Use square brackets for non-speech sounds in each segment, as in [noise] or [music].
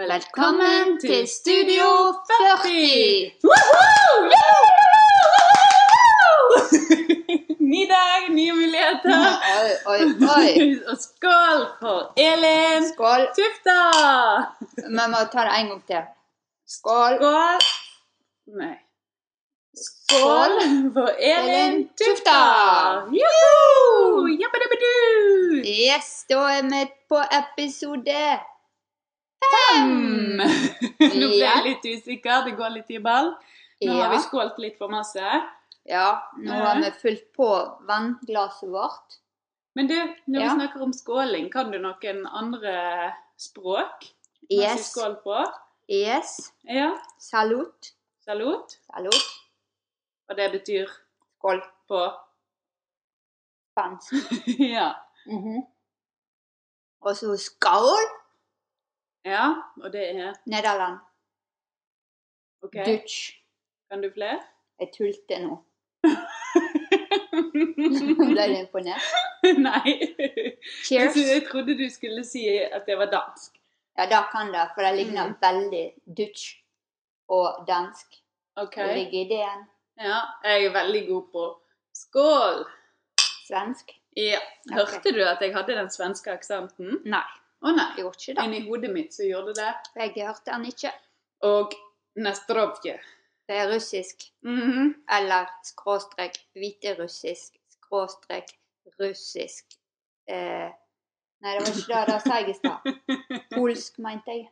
Velkommen til Studio 40! Ny dag, nye muligheter. Oi, oi, oi. Og skål for Elin Skål. Tufta! Vi må ta det en gang til. Skål. Skål Nei. Skål for Elin Tufta! Juhu! Jabbadabadu! Yes, da er vi på episode [laughs] Nå ble jeg litt usikker. Det går litt i ball. Nå har Ja. vi skålt litt for masse. ja. Nå har vi fylt på vannglasset vårt. Men du, når Ja. vi snakker om skåling, kan du noen andre språk? man sier Yes. Skål på? Yes. Ja. Salut. Salut. Salut. Og det betyr Skål. på [laughs] Spansk. Ja. Mhm. Og så skål. Ja, og det er Nederland. OK. Dutch. Kan du flere? [laughs] Jeg tulte [laughs] nå. Ble du imponert? Nei. Jeg, Cheers. tro- [laughs] jeg trodde du skulle si at det var dansk. Ja, det kan det, for det ligner Mm. veldig dutch og dansk. OK. Det ligger i ideen. Ja, jeg er veldig god på skål. Svensk? Ja. Hørte du at jeg hadde den svenske aksenten? Nei, Å nei. jeg gjorde ikke det. Inni hodet mitt så gjorde det. Jeg hørte den ikke. Og nestrovje. Det er russisk, Mhm. eller skråstrek hviterussisk, skråstrek russisk eh, Nei, det var ikke det det sa jeg i [laughs] stad. Polsk, mente jeg.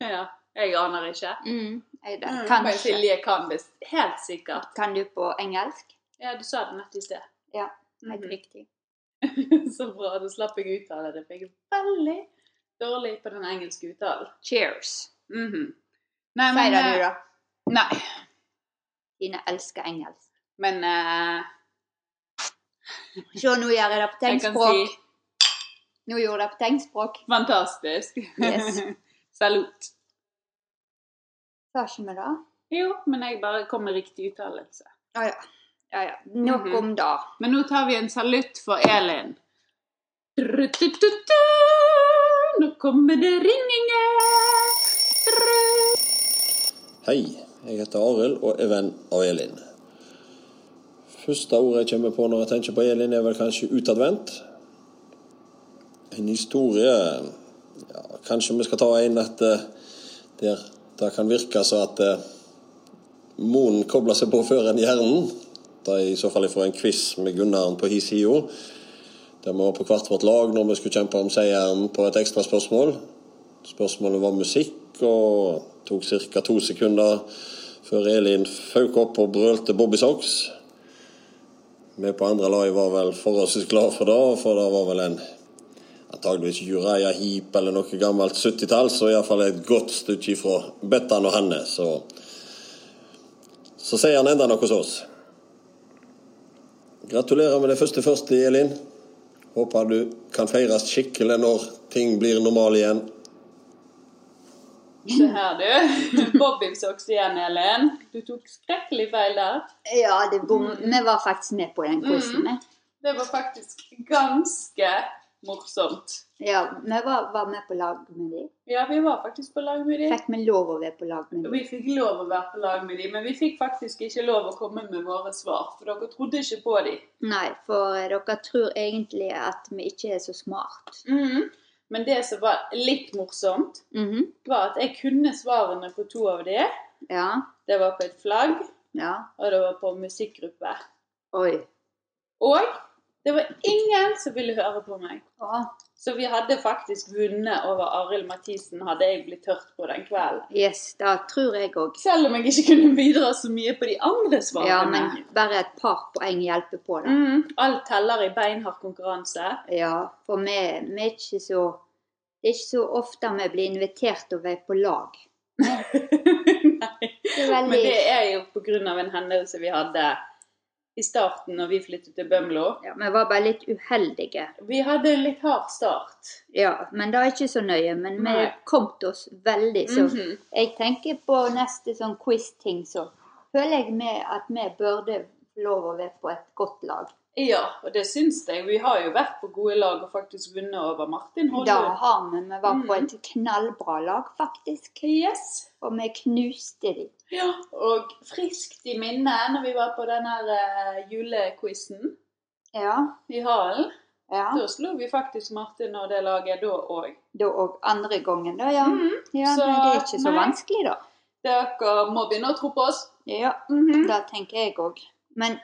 Ja. Jeg aner ikke. Mm, jeg, det. Men Kanskje. Silje kan det helt sikkert. Kan du på engelsk? Ja, du sa det nett i sted. Ja, Helt Mhm. riktig. [laughs] Så bra. Da slapp jeg uttale det, for jeg er veldig dårlig på den engelske uttalen. Cheers. Mhm. Nei, Si det, eh, du, da. Nei, Dine elsker engelsk. men eh, [laughs] Se, nå gjør jeg det på jeg kan tegnspråk. si Nå gjorde jeg det på tegnspråk. fantastisk. Yes. [laughs] Salut. Sa ikke vi det? Jo, men jeg bare kom med riktig uttalelse. Ja, ja. ja, ja. Nok Mhm. om det. Men nå tar vi en salutt for Elin. Trutututu, Nå kommer det ringinger! [laughs] Tru. Hei, jeg heter Arild og er venn av Elin. Første ordet jeg kommer på når jeg tenker på Elin, er vel kanskje utadvendt. En historie ja, Kanskje vi skal ta en at eh, der det kan virke så at eh, månen kobler seg på før enn hjernen. Det er i så fall fra en quiz med Gunnaren på hi side. Der vi var på hvert vårt lag når vi skulle kjempe om seieren på et ekstra spørsmål. Spørsmålet var musikk og tok ca. to sekunder før Elin føk opp og brølte Bobby Socks. Vi på andre laget var vel forholdsvis glad for det, for det var vel en antageligvis Juraja Heap eller noe gammelt 70-tall, så iallfall et godt stykke fra Bettan og Hanne. Så, så sier han enda noe hos oss. Gratulerer med det første første, Elin. Håper du kan feires skikkelig når ting blir normale igjen. Se her, du. Bobbysocks igjen, Elin. Du tok skrekkelig feil der. Ja, det bom... vi var faktisk med på den quizen. vi. Det var faktisk ganske morsomt. Ja, vi var, var med på lag med dem. Ja, vi var faktisk på lag med dem. Fikk vi lov å være på lag med Og dem? Vi fikk lov å være på lag med dem, men vi fikk faktisk ikke lov å komme med våre svar, for dere trodde ikke på dem. Nei, for eh, dere tror egentlig at vi ikke er så smart. Men det som var litt morsomt, Mhm. var at jeg kunne svarene på to av dem. Ja. Det var på et flagg, Ja. og det var på musikkgruppe. Oi. Og det var ingen som ville høre på meg. Ja. Så vi hadde faktisk vunnet over Arild Mathisen, hadde jeg blitt hørt på den kvelden. Yes, det tror jeg òg. Selv om jeg ikke kunne bidra så mye på de andre svarene. Ja, men bare et par poeng hjelper på det. Mm, alt teller i beinhard konkurranse. [laughs] Ja, for vi, vi er ikke så Det er ikke så ofte vi blir invitert til å være på lag. Nei. Det er veldig Men det er jo pga. en hendelse vi hadde i starten når vi flyttet til Bømlo. ja, Vi var bare litt uheldige. Vi hadde en litt hard start. Ja, men det er ikke så nøye. Men vi Nei. kom til oss veldig, så Mhm. jeg tenker på neste sånn quiz-ting, så føler jeg med at vi burde få lov å være på et godt lag. Ja, og det syns jeg. Vi har jo vært på gode lag og faktisk vunnet over Martin Da Holløv. har vi Vi var på Mm. et knallbra lag, faktisk. Yes. Og vi knuste dem. Ja, og friskt i minnet når vi var på den her eh, julequizen Ja. i hallen. ja. Da slo vi faktisk Martin og det laget da òg. Da og andre gangen, da, ja. Mhm. ja Så, men det er ikke så nei. vanskelig, da. Dere må begynne å tro på oss. Ja, Mhm. det tenker jeg òg. Men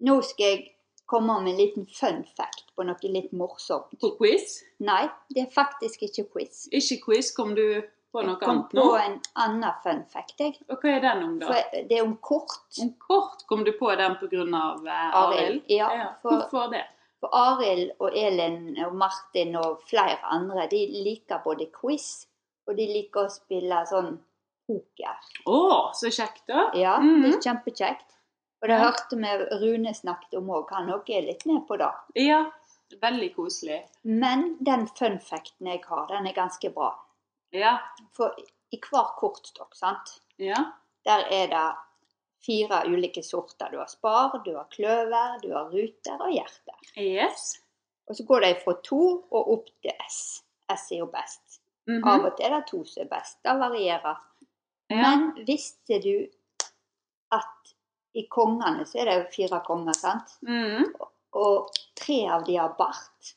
nå skal jeg komme med en liten fun fact på noe litt morsomt. På quiz. Nei, det er faktisk ikke quiz. Ikke quiz, kom du på noe Jeg kom annet nå? på en annen fun fact, jeg. Og hva er den om, da? For det er om kort. Om kort kom du på den pga. Eh, Arild. Arild. Ja, for, Hvorfor det? for Arild og Elin og Martin og flere andre, de liker både quiz, og de liker å spille sånn poker. Å, så kjekt, da. Ja, det er kjempekjekt. Og det Mm. Ja. hørte vi Rune snakket om òg, han òg er litt med på det. Ja. Veldig koselig. Men den fun facten jeg har, den er ganske bra. Ja. For i hver kortstokk, sant, Ja. der er det fire ulike sorter. Du har spar, du har kløver, du har ruter og hjerter. Yes. Og så går de fra to og opp til S. S er jo best. Mhm. Av og til er det to som er best. Det varierer. ja. Men visste du at i kongene så er det jo fire konger, sant? Mhm. Og tre av de har bart.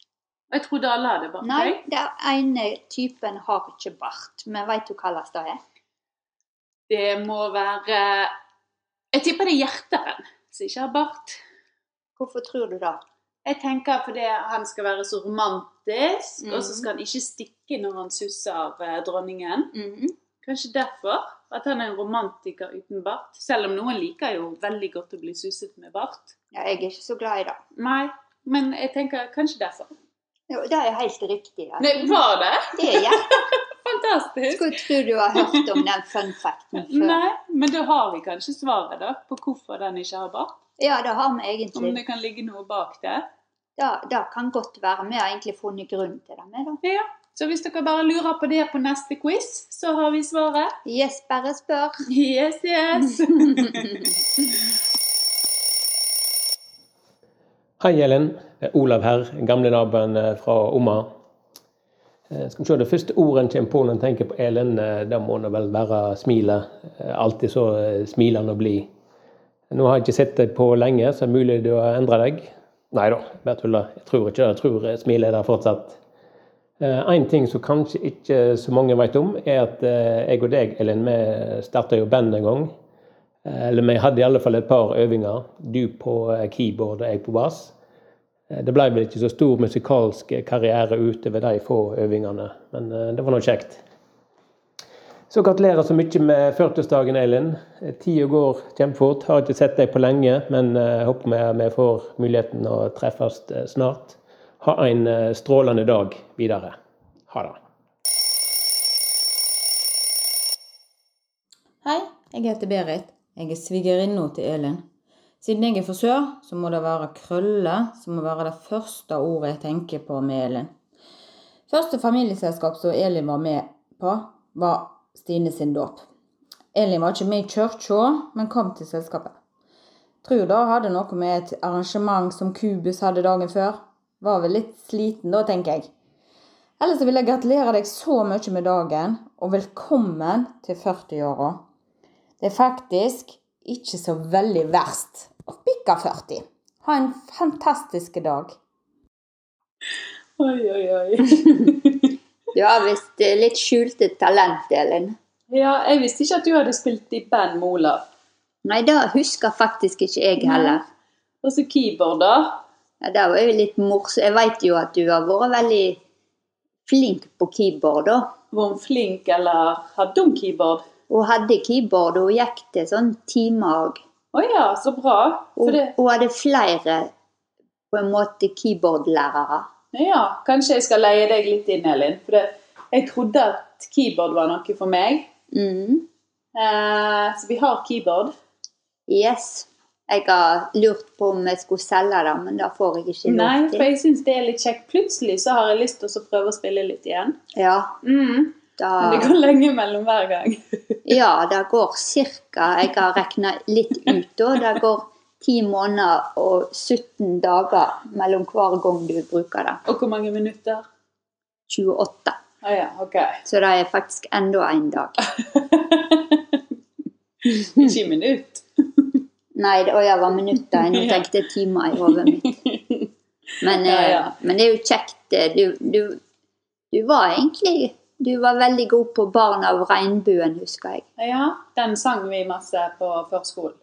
Og Jeg trodde alle hadde bart. Nei, jeg. den ene typen har ikke bart. Men veit du hva slags det er? Det må være Jeg tipper det er hjerteren som ikke har bart. Hvorfor tror du det? Jeg tenker fordi han skal være så romantisk, og så Mhm. skal han ikke stikke når han susser eh, dronningen. Mhm. Kanskje derfor at han er en romantiker uten bart. Selv om noen liker jo veldig godt å bli suset med bart. Ja, jeg er ikke så glad i det. Nei, men jeg tenker kanskje derfor. Jo, det er helt riktig. Ja. Nei, var det? Det er jeg. Fantastisk! Skulle tro du har hørt om den fun [laughs] facten før. Nei, men da har vi kanskje svaret da, på hvorfor den ikke har bart. Ja, det har vi Om egentlig. det kan ligge noe bak det. Det, det kan godt være. Vi har egentlig funnet grunn til det. Med, da. Ja, Så hvis dere bare lurer på det på neste quiz, så har vi svaret. Yes, bare spør. Yes, [laughs] yes! Hei, Elin. Det er Olav her, gamle naboen eh, fra Omma. Eh, Skal vi se, Det første ordet en kommer på når en tenker på Elin, eh, det må nå vel være smilet. Eh, Alltid så eh, smilende og blid. Nå har jeg ikke sett deg på lenge, så er det mulig du har endra deg. Nei da, bare tulla. Jeg tror ikke det. Jeg tror eh, smilet er der fortsatt. Én ting som kanskje ikke så mange vet om, er at eh, jeg og deg, Elin, vi starta jo band en gang. Eh, Eller vi hadde i alle fall et par øvinger. Du på eh, keyboard og jeg på bass. Eh, Det ble vel ikke så stor musikalsk eh, karriere utover de få øvingene, men eh, det var nå kjekt. Så gratulerer så mye med 40-årsdagen, Elin. Eh, Tida går kjempefort. Har ikke sett deg på lenge, men eh, håper vi, vi får muligheten å treffes eh, snart. Ha en eh, strålende dag videre. Ha det. Hei, jeg heter Berit. Jeg er svigerinna til Elin. Siden jeg er fra sør, så må det være krølle som må være det første ordet jeg tenker på med Elin. Første familieselskap som Elin var med på, var Stine sin dåp. Elin var ikke med i kirka, men kom til selskapet. Tror da hadde noe med et arrangement som Kubus hadde dagen før. Var vel litt sliten da, tenker jeg. Ellers så vil jeg gratulere deg så mye med dagen, og velkommen til 40-åra. Det er faktisk ikke så veldig verst å bikke 40. Ha en fantastisk dag. Oi, oi, oi. Du har visst eh, litt skjulte talent, Elin. Ja, jeg visste ikke at du hadde spilt i band med Olav. Nei, det husker faktisk ikke jeg heller. Og så keyboard, da. Ja, det var jo litt morsomt. Jeg veit jo at du har vært veldig flink på keyboard, da. Var hun flink, eller hadde hun keyboard? Hun hadde keyboard, og hun gikk til sånn timer òg. Å ja, så bra. For Hun, det, hun hadde flere på en måte keyboardlærere. ja, kanskje jeg skal leie deg litt inn, Elin. For det, jeg trodde at keyboard var noe for meg. Mm. Eh, så vi har keyboard. Yes. Jeg har lurt på om jeg skulle selge det, men det får jeg ikke lov Nei, for til. jeg syns det er litt kjekt. Plutselig så har jeg lyst til å prøve å spille litt igjen. Ja, Mm. da, Men det går lenge mellom hver gang. ja, det går cirka Jeg har regna litt ut, da. Det går 10 måneder og 17 dager mellom hver gang du bruker det. Og hvor mange minutter? 28. Å ja, OK. Så det er faktisk enda en dag. Ikke i minutt. Nei, det, å, jeg var minutter. [laughs] Nå Ja. tenkte jeg timer i hodet mitt. Men, Ja, eh, ja. men det er jo kjekt. eh, Du, du, du var egentlig Du var veldig god på 'Barn av regnbuen', husker jeg. Ja, den sang vi masse på førskolen.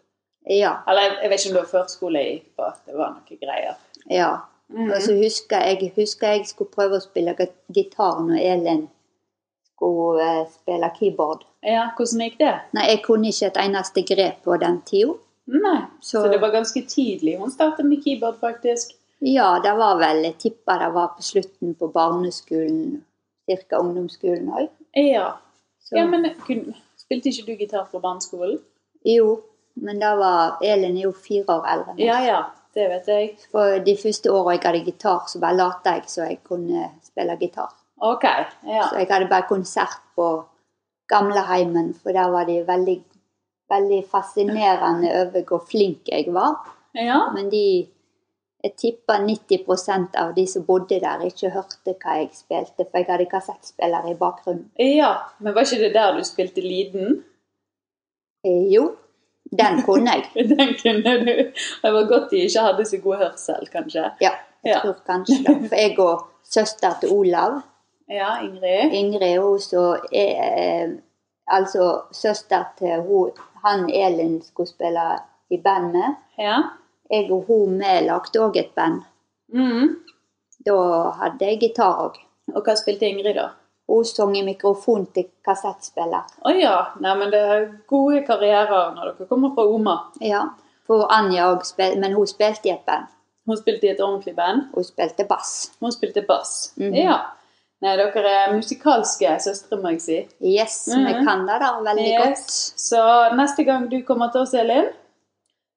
Ja. Eller jeg, jeg vet ikke om det var førskole jeg gikk på. Det var noen greier. ja. Mhm. Og så husker jeg, husker jeg skulle prøve å spille git- gitar når Elin skulle eh, spille keyboard. Ja, hvordan gikk det? Nei, jeg kunne ikke et eneste grep på den tida. Nei. Så, Så- det var ganske tidlig hun startet med keyboard, faktisk. Ja, det var vel jeg tipper det var på slutten på barneskolen, ca. ungdomsskolen òg. Ja. Så- ja men kun, spilte ikke du gitar på barneskolen? Jo, men da var Elin er jo fire år eldre. enn meg. Ja ja, det vet jeg. For de første åra jeg hadde gitar, så bare lot jeg så jeg kunne spille gitar. OK. Ja. Så jeg hadde bare konsert på gamleheimen, for der var de veldig, veldig fascinerende over hvor flink jeg var. ja. Men de jeg tipper 90 av de som bodde der, ikke hørte hva jeg spilte, for jeg hadde kassettspiller i bakgrunnen. Ja. Men var ikke det der du spilte [laughs] Liden? Eh, jo, den kunne jeg. Den kunne du. Det var godt de ikke hadde så god hørsel, kanskje. Ja, jeg Ja. tror kanskje det. For jeg og søster til Olav, Ja, Ingrid. Ingrid, hun som er eh, Altså søster til hun, han Elin skulle spille i band med. Ja. Jeg og hun vi lagde òg et band. Mhm. Da hadde jeg gitar òg. Og hva spilte Ingrid, da? Hun sang i mikrofon til kassettspiller. Å ja. Nei, men det er gode karrierer når dere kommer fra Oma. Ja. For Anja òg spilte, men hun spilte i et band. Hun spilte i et ordentlig band. Hun spilte bass. Hun spilte bass. Mhm. Ja. Nei, dere er musikalske søstre, må jeg si. Yes, vi Mhm. kan det da veldig godt. Yes. Så neste gang du kommer til oss, Elin,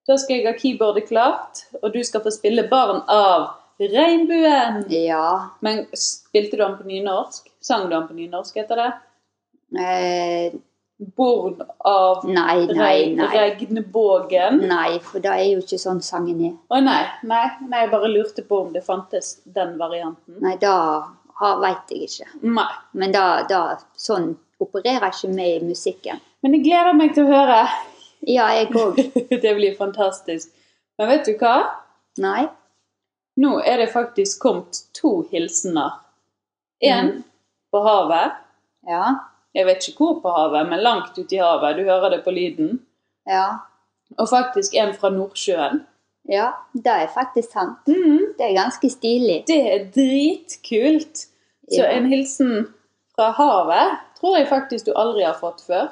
da skal jeg ha keyboardet klart, og du skal få spille 'Barn av regnbuen'. Ja. Men spilte du den på nynorsk? Sang du den på nynorsk, heter det? Eh, 'Born av nei, nei, reg nei. regnbågen'? Nei, for det er jo ikke sånn sangen er. Å nei, nei, nei, jeg bare lurte på om det fantes den varianten. Nei, det har- vet jeg ikke. Nei. Men da, da, sånn opererer ikke vi i musikken. Men jeg gleder meg til å høre. Ja, jeg òg. [laughs] det blir fantastisk. Men vet du hva? Nei. Nå er det faktisk kommet to hilsener. En på havet. Ja. Jeg vet ikke hvor på havet, men langt ute i havet. Du hører det på lyden. Ja. Og faktisk en fra Nordsjøen. Ja, det er faktisk sant. Mhm, Det er ganske stilig. det er dritkult! Så Ja. en hilsen fra havet tror jeg faktisk du aldri har fått før.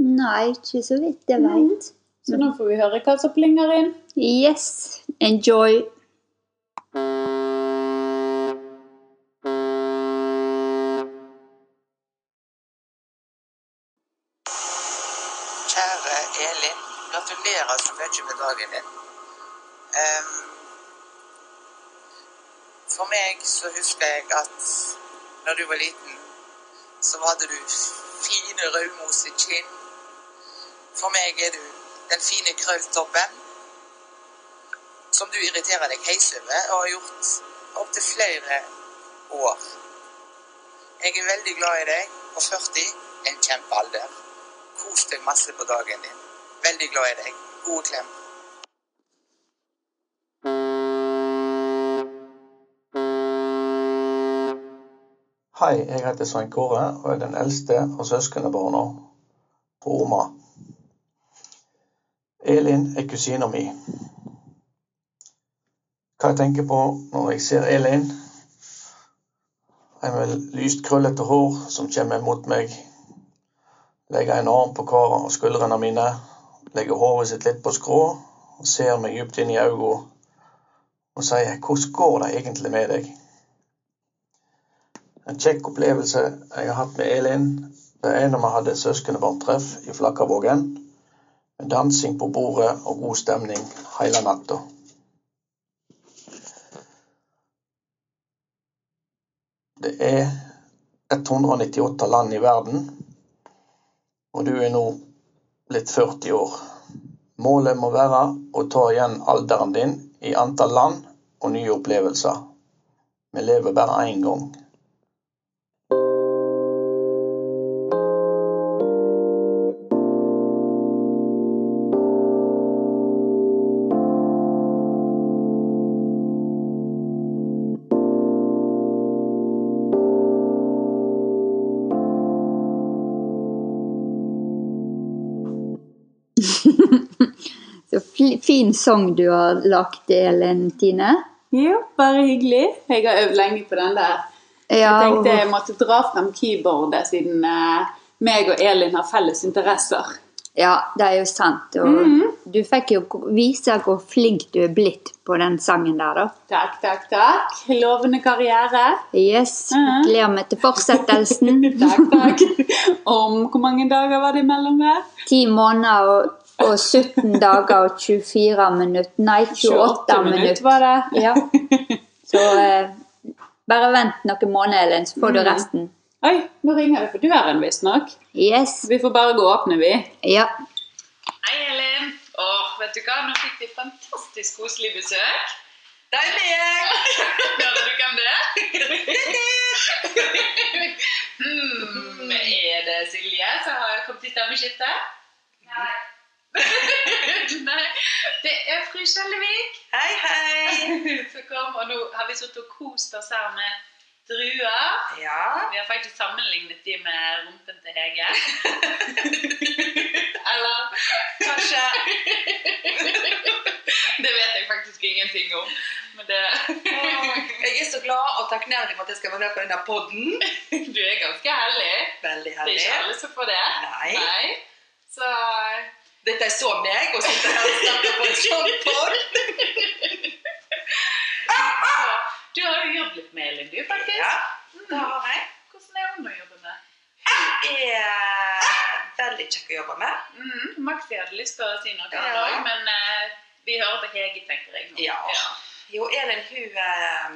Nei, ikke så vidt jeg veit. Så nå får vi høre hva som plinger inn. Yes. Enjoy. Kjære Elin, gratulerer så mye med dagen din. Ehm, for meg så husker jeg at når du var liten, så hadde du fine rødmos i kinn. For meg er du den fine krølltoppen som du irriterer deg heis over og har gjort opptil flere år. Jeg er veldig glad i deg, og 40 er en kjempealder. Kos deg masse på dagen din. Veldig glad i deg. God klem. Hei, jeg heter Svein Kåre og er den eldste av søskenbarna på Oma. Elin er kusina mi. Hva jeg tenker på når jeg ser Elin? En med lyst krøllete hår som kommer mot meg. Legger en arm på hver av skuldrene mine, legger håret sitt litt på skrå og ser meg dypt inn i øynene og sier 'Hvordan går det egentlig med deg?' En kjekk opplevelse jeg har hatt med Elin, det er når vi hadde søskenbarntreff i Flakkarvågen. Med dansing på bordet og god stemning hele natta. Det er 198 land i verden, og du er nå blitt 40 år. Målet må være å ta igjen alderen din i antall land og nye opplevelser. Vi lever bare én gang. Så fl- fin sang du har lagt, Ellen Tine. Ja, bare hyggelig. Jeg har øvd lenge på den der. Ja, Jeg og- tenkte jeg måtte dra frem keyboardet, siden eh, meg og Elin har felles interesser. ja det er jo sant. Og Mm. du fikk jo k- vise hvor flink du er blitt på den sangen der, da. Takk, takk, takk. Lovende karriere. [laughs] Yes. Mhm. Gleder meg til fortsettelsen. [laughs] Takk, takk. Om hvor mange dager var det imellom her? Ti måneder og, og 17 dager og 24 minutter. Nei, 28 minutter minutter. var det. Ja. Så eh, bare vent noen måneder, Ellen, så får du Mhm. resten. Oi, nå ringer det på døren visstnok. Yes. Vi får bare gå og åpne, vi. Ja. Hei, Elin. Åh, vet du hva? Nå fikk vi fantastisk koselig besøk. Det er [laughs] meg! Hører du hvem det er? Mm. hmm, er det Silje som har kommet i stemmeskiftet? [laughs] Nei. Det er fru Skjellevik Hei, hei! [laughs] som kom, og nå har vi sittet og kost oss her med druer. Ja. Vi har faktisk sammenlignet de med rumpen til [laughs] Hege. Eller Kanskje Det vet jeg faktisk ingenting om. Men det Jeg er så glad og takknemlig for at jeg skal være med på denne podden. Du er ganske hellig. Veldig Det er herlig. ikke alle som får det. Nei. Så Dette er så meg å sitte her og snakke på en sånn podd. Du har jo jobbet litt med Elin, du, faktisk. Mm. Ja, det har jeg. Hvordan er hun å jobbe med? er veldig kjekk å jobbe med. Mm, Maxi hadde lyst til å si noe, han Ja. også, men eh, vi hører på Hege, tenker jeg. nå. Ja. Jo, Elin, hun eh,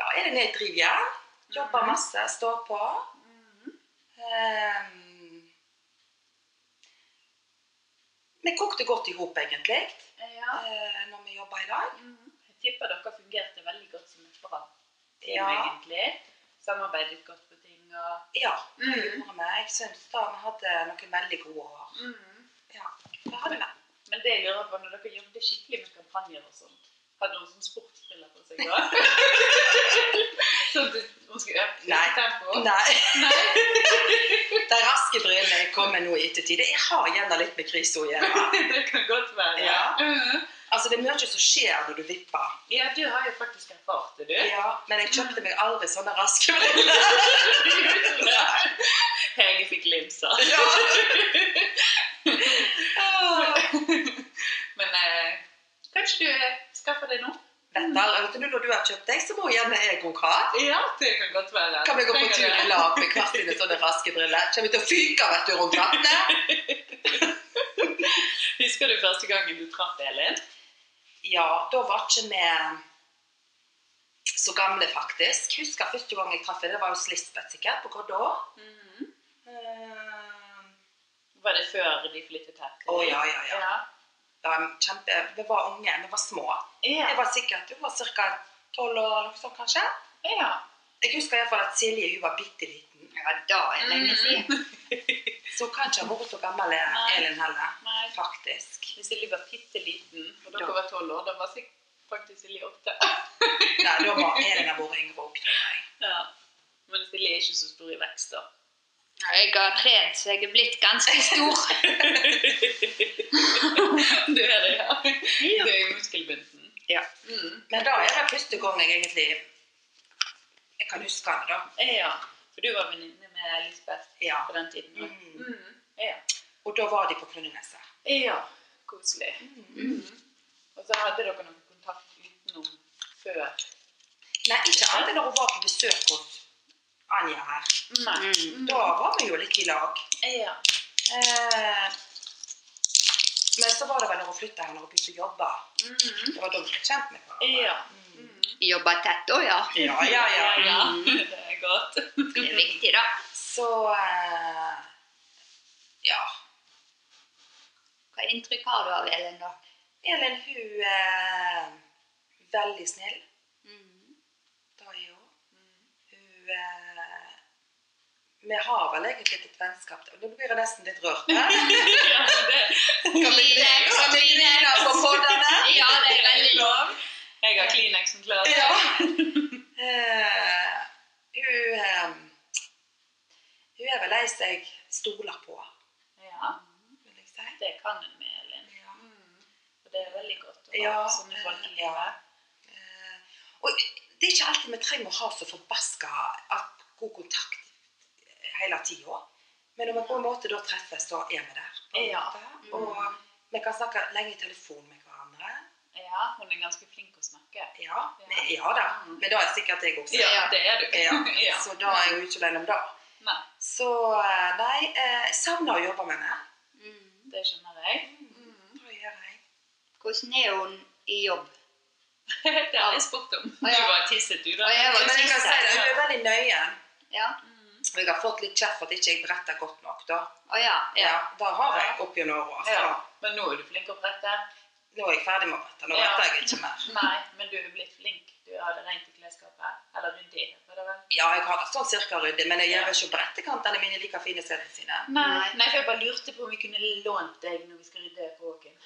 Ja, Elin er et drivjern. Jobber Mm. masse, står på. Eh, Vi kokte godt i hop, egentlig, Ja. Ja. eh, når vi jobba i dag. Mm. Jeg tipper dere fungerte veldig godt som et bra team, Ja. egentlig. Samarbeidet godt på ting og Ja, det Mhm. gjorde vi. Jeg syns da vi hadde noen veldig gode år. Ja, det hadde vi. Mm. Men det jeg lurer på, når dere jobbet skikkelig med kampanjer og sånt, hadde hun sånn sportsbriller på seg [laughs] da? sånn at hun skulle øke Nei. tempoet? Nei. [laughs] De raske brillene kommer nå i ettertid. Jeg har gjerne litt med krisa å gjøre. [laughs] Det kan godt være. Ja. Mhm. Altså, det er mye som skjer når du vipper. ja, du har jo faktisk erfart det, du. Ja, men jeg kjøpte meg aldri sånne [laughs] raske briller. Nei. Hege fikk linser. Ja. Åh. Men eh, kanskje du eh, skaffer det nå? Dette, vet du, når du har kjøpt deg, så må gjerne jeg òg ha. Ja, det kan godt være. Kan vi gå på Trenger tur det. i lag med hver sine sånne raske briller? Kommer vi til å fyke vet du, rundt [laughs] vannet? Husker du første gangen du traff Elin? Ja, da var ikke vi så gamle, faktisk. Husker første gang jeg traff henne. Det var hos Lisbeth, sikkert, på Grodå. Mm-hmm. Eh, Var det før de flyttet her? Å, ja, ja, ja. ja. Det var kjempe, vi var unge, vi var små. Jeg Ja, var sikkert hun var ca. 12 år, eller noe sånt kanskje. ja. Jeg husker iallfall at Silje hun var bitte liten. Mm. Ja, da er det lenge siden. [laughs] Så hun kan ikke ha vært så gammel Nei. Elin heller. Nei, Faktisk. Hvis Silje var bitte liten, og Ja. dere var tolv år, da var sikk- faktisk Silje åtte. Nei, da må Elin ha vært yngre òg, tror jeg. Ja. Men Silje er ikke så stor i vekst, da. Jeg har trent, så jeg er blitt ganske stor. Du er det, ja. Du er i muskelbunten. Ja. Mm. Men da er det første gang jeg egentlig Jeg kan huske det, da. Ja. For du var venninne med Lisbeth Ja. på den tiden. da. Mm. Mm. Ja. Og da var de på Krønneneset. ja. Koselig. Mm. Og så hadde dere noen kontakt utenom før. Nei, ikke alltid når hun var på besøk hos Anja her. Mm. Nei. Da var vi jo litt i lag. Ja. Eh, men så var det vel når hun flytta her, når hun begynte å jobbe. Mm. Det var da vi ble kjent med hverandre. Ja. Jobber tett òg, ja. Ja, ja, ja. ja. Det er godt. Det er viktig, da. Så eh, Ja. slags inntrykk har du av Elin, da? Elin hun er veldig snill. Mm. Det er hun. Hun eh, Vi har vel egentlig et vennskap der. Nå blir jeg nesten litt rørt. her. Kleenex, Kan vi kan vi Kleenex. begynne på poddene? Ja, det er veldig lov. Jeg har Kleenexen klar. Ja. Eh, hun, eh, hun er vel ei som jeg stoler på, Ja, vil jeg si. det kan hun med Elin. Ja. Og det er veldig godt å ha Ja, sånne folk i ja. livet. Eh, Og det er ikke alltid vi trenger å ha så forbaska at god kontakt hele tida. Men når vi på en måte da treffes, da er vi der. på en Ja. Mm. måte. Og vi kan snakke lenge i telefon med hverandre. Ja, hun er ganske flink å snakke. Ja, men- ja da. Men da er sikkert jeg også. Mm. det er du. Ja. [laughs] Ja. Så da er jeg jo ikke alene om det. Nei, Så eh, nei, eh, jeg savner å jobbe med henne. det skjønner jeg. [laughs] Mm. Det gjør jeg. Hvordan er hun i jobb? Det har jeg spurt om. Du Å, ja. var tisset, du, da. Og jeg var Men jeg kan si det, hun er veldig nøye. Ja. Og jeg har fått litt kjeft for at ikke jeg beretter godt nok, da. Å ja. Ja, ja. det har jeg opp gjennom åra. Ja. Men nå er du flink å prette. Nå er jeg ferdig med å rette. Nå Ja. retter jeg ikke mer. Nei, men du er blitt flink. Du har det rent i klesskapet. Eller ryddig, var det vel? Ja, jeg har det sånn cirka ryddig, men jeg gjør ikke brettekantene mine like fine som de sine. Nei. Nei, for jeg bare lurte på om vi kunne lånt deg når vi skal rydde på åken.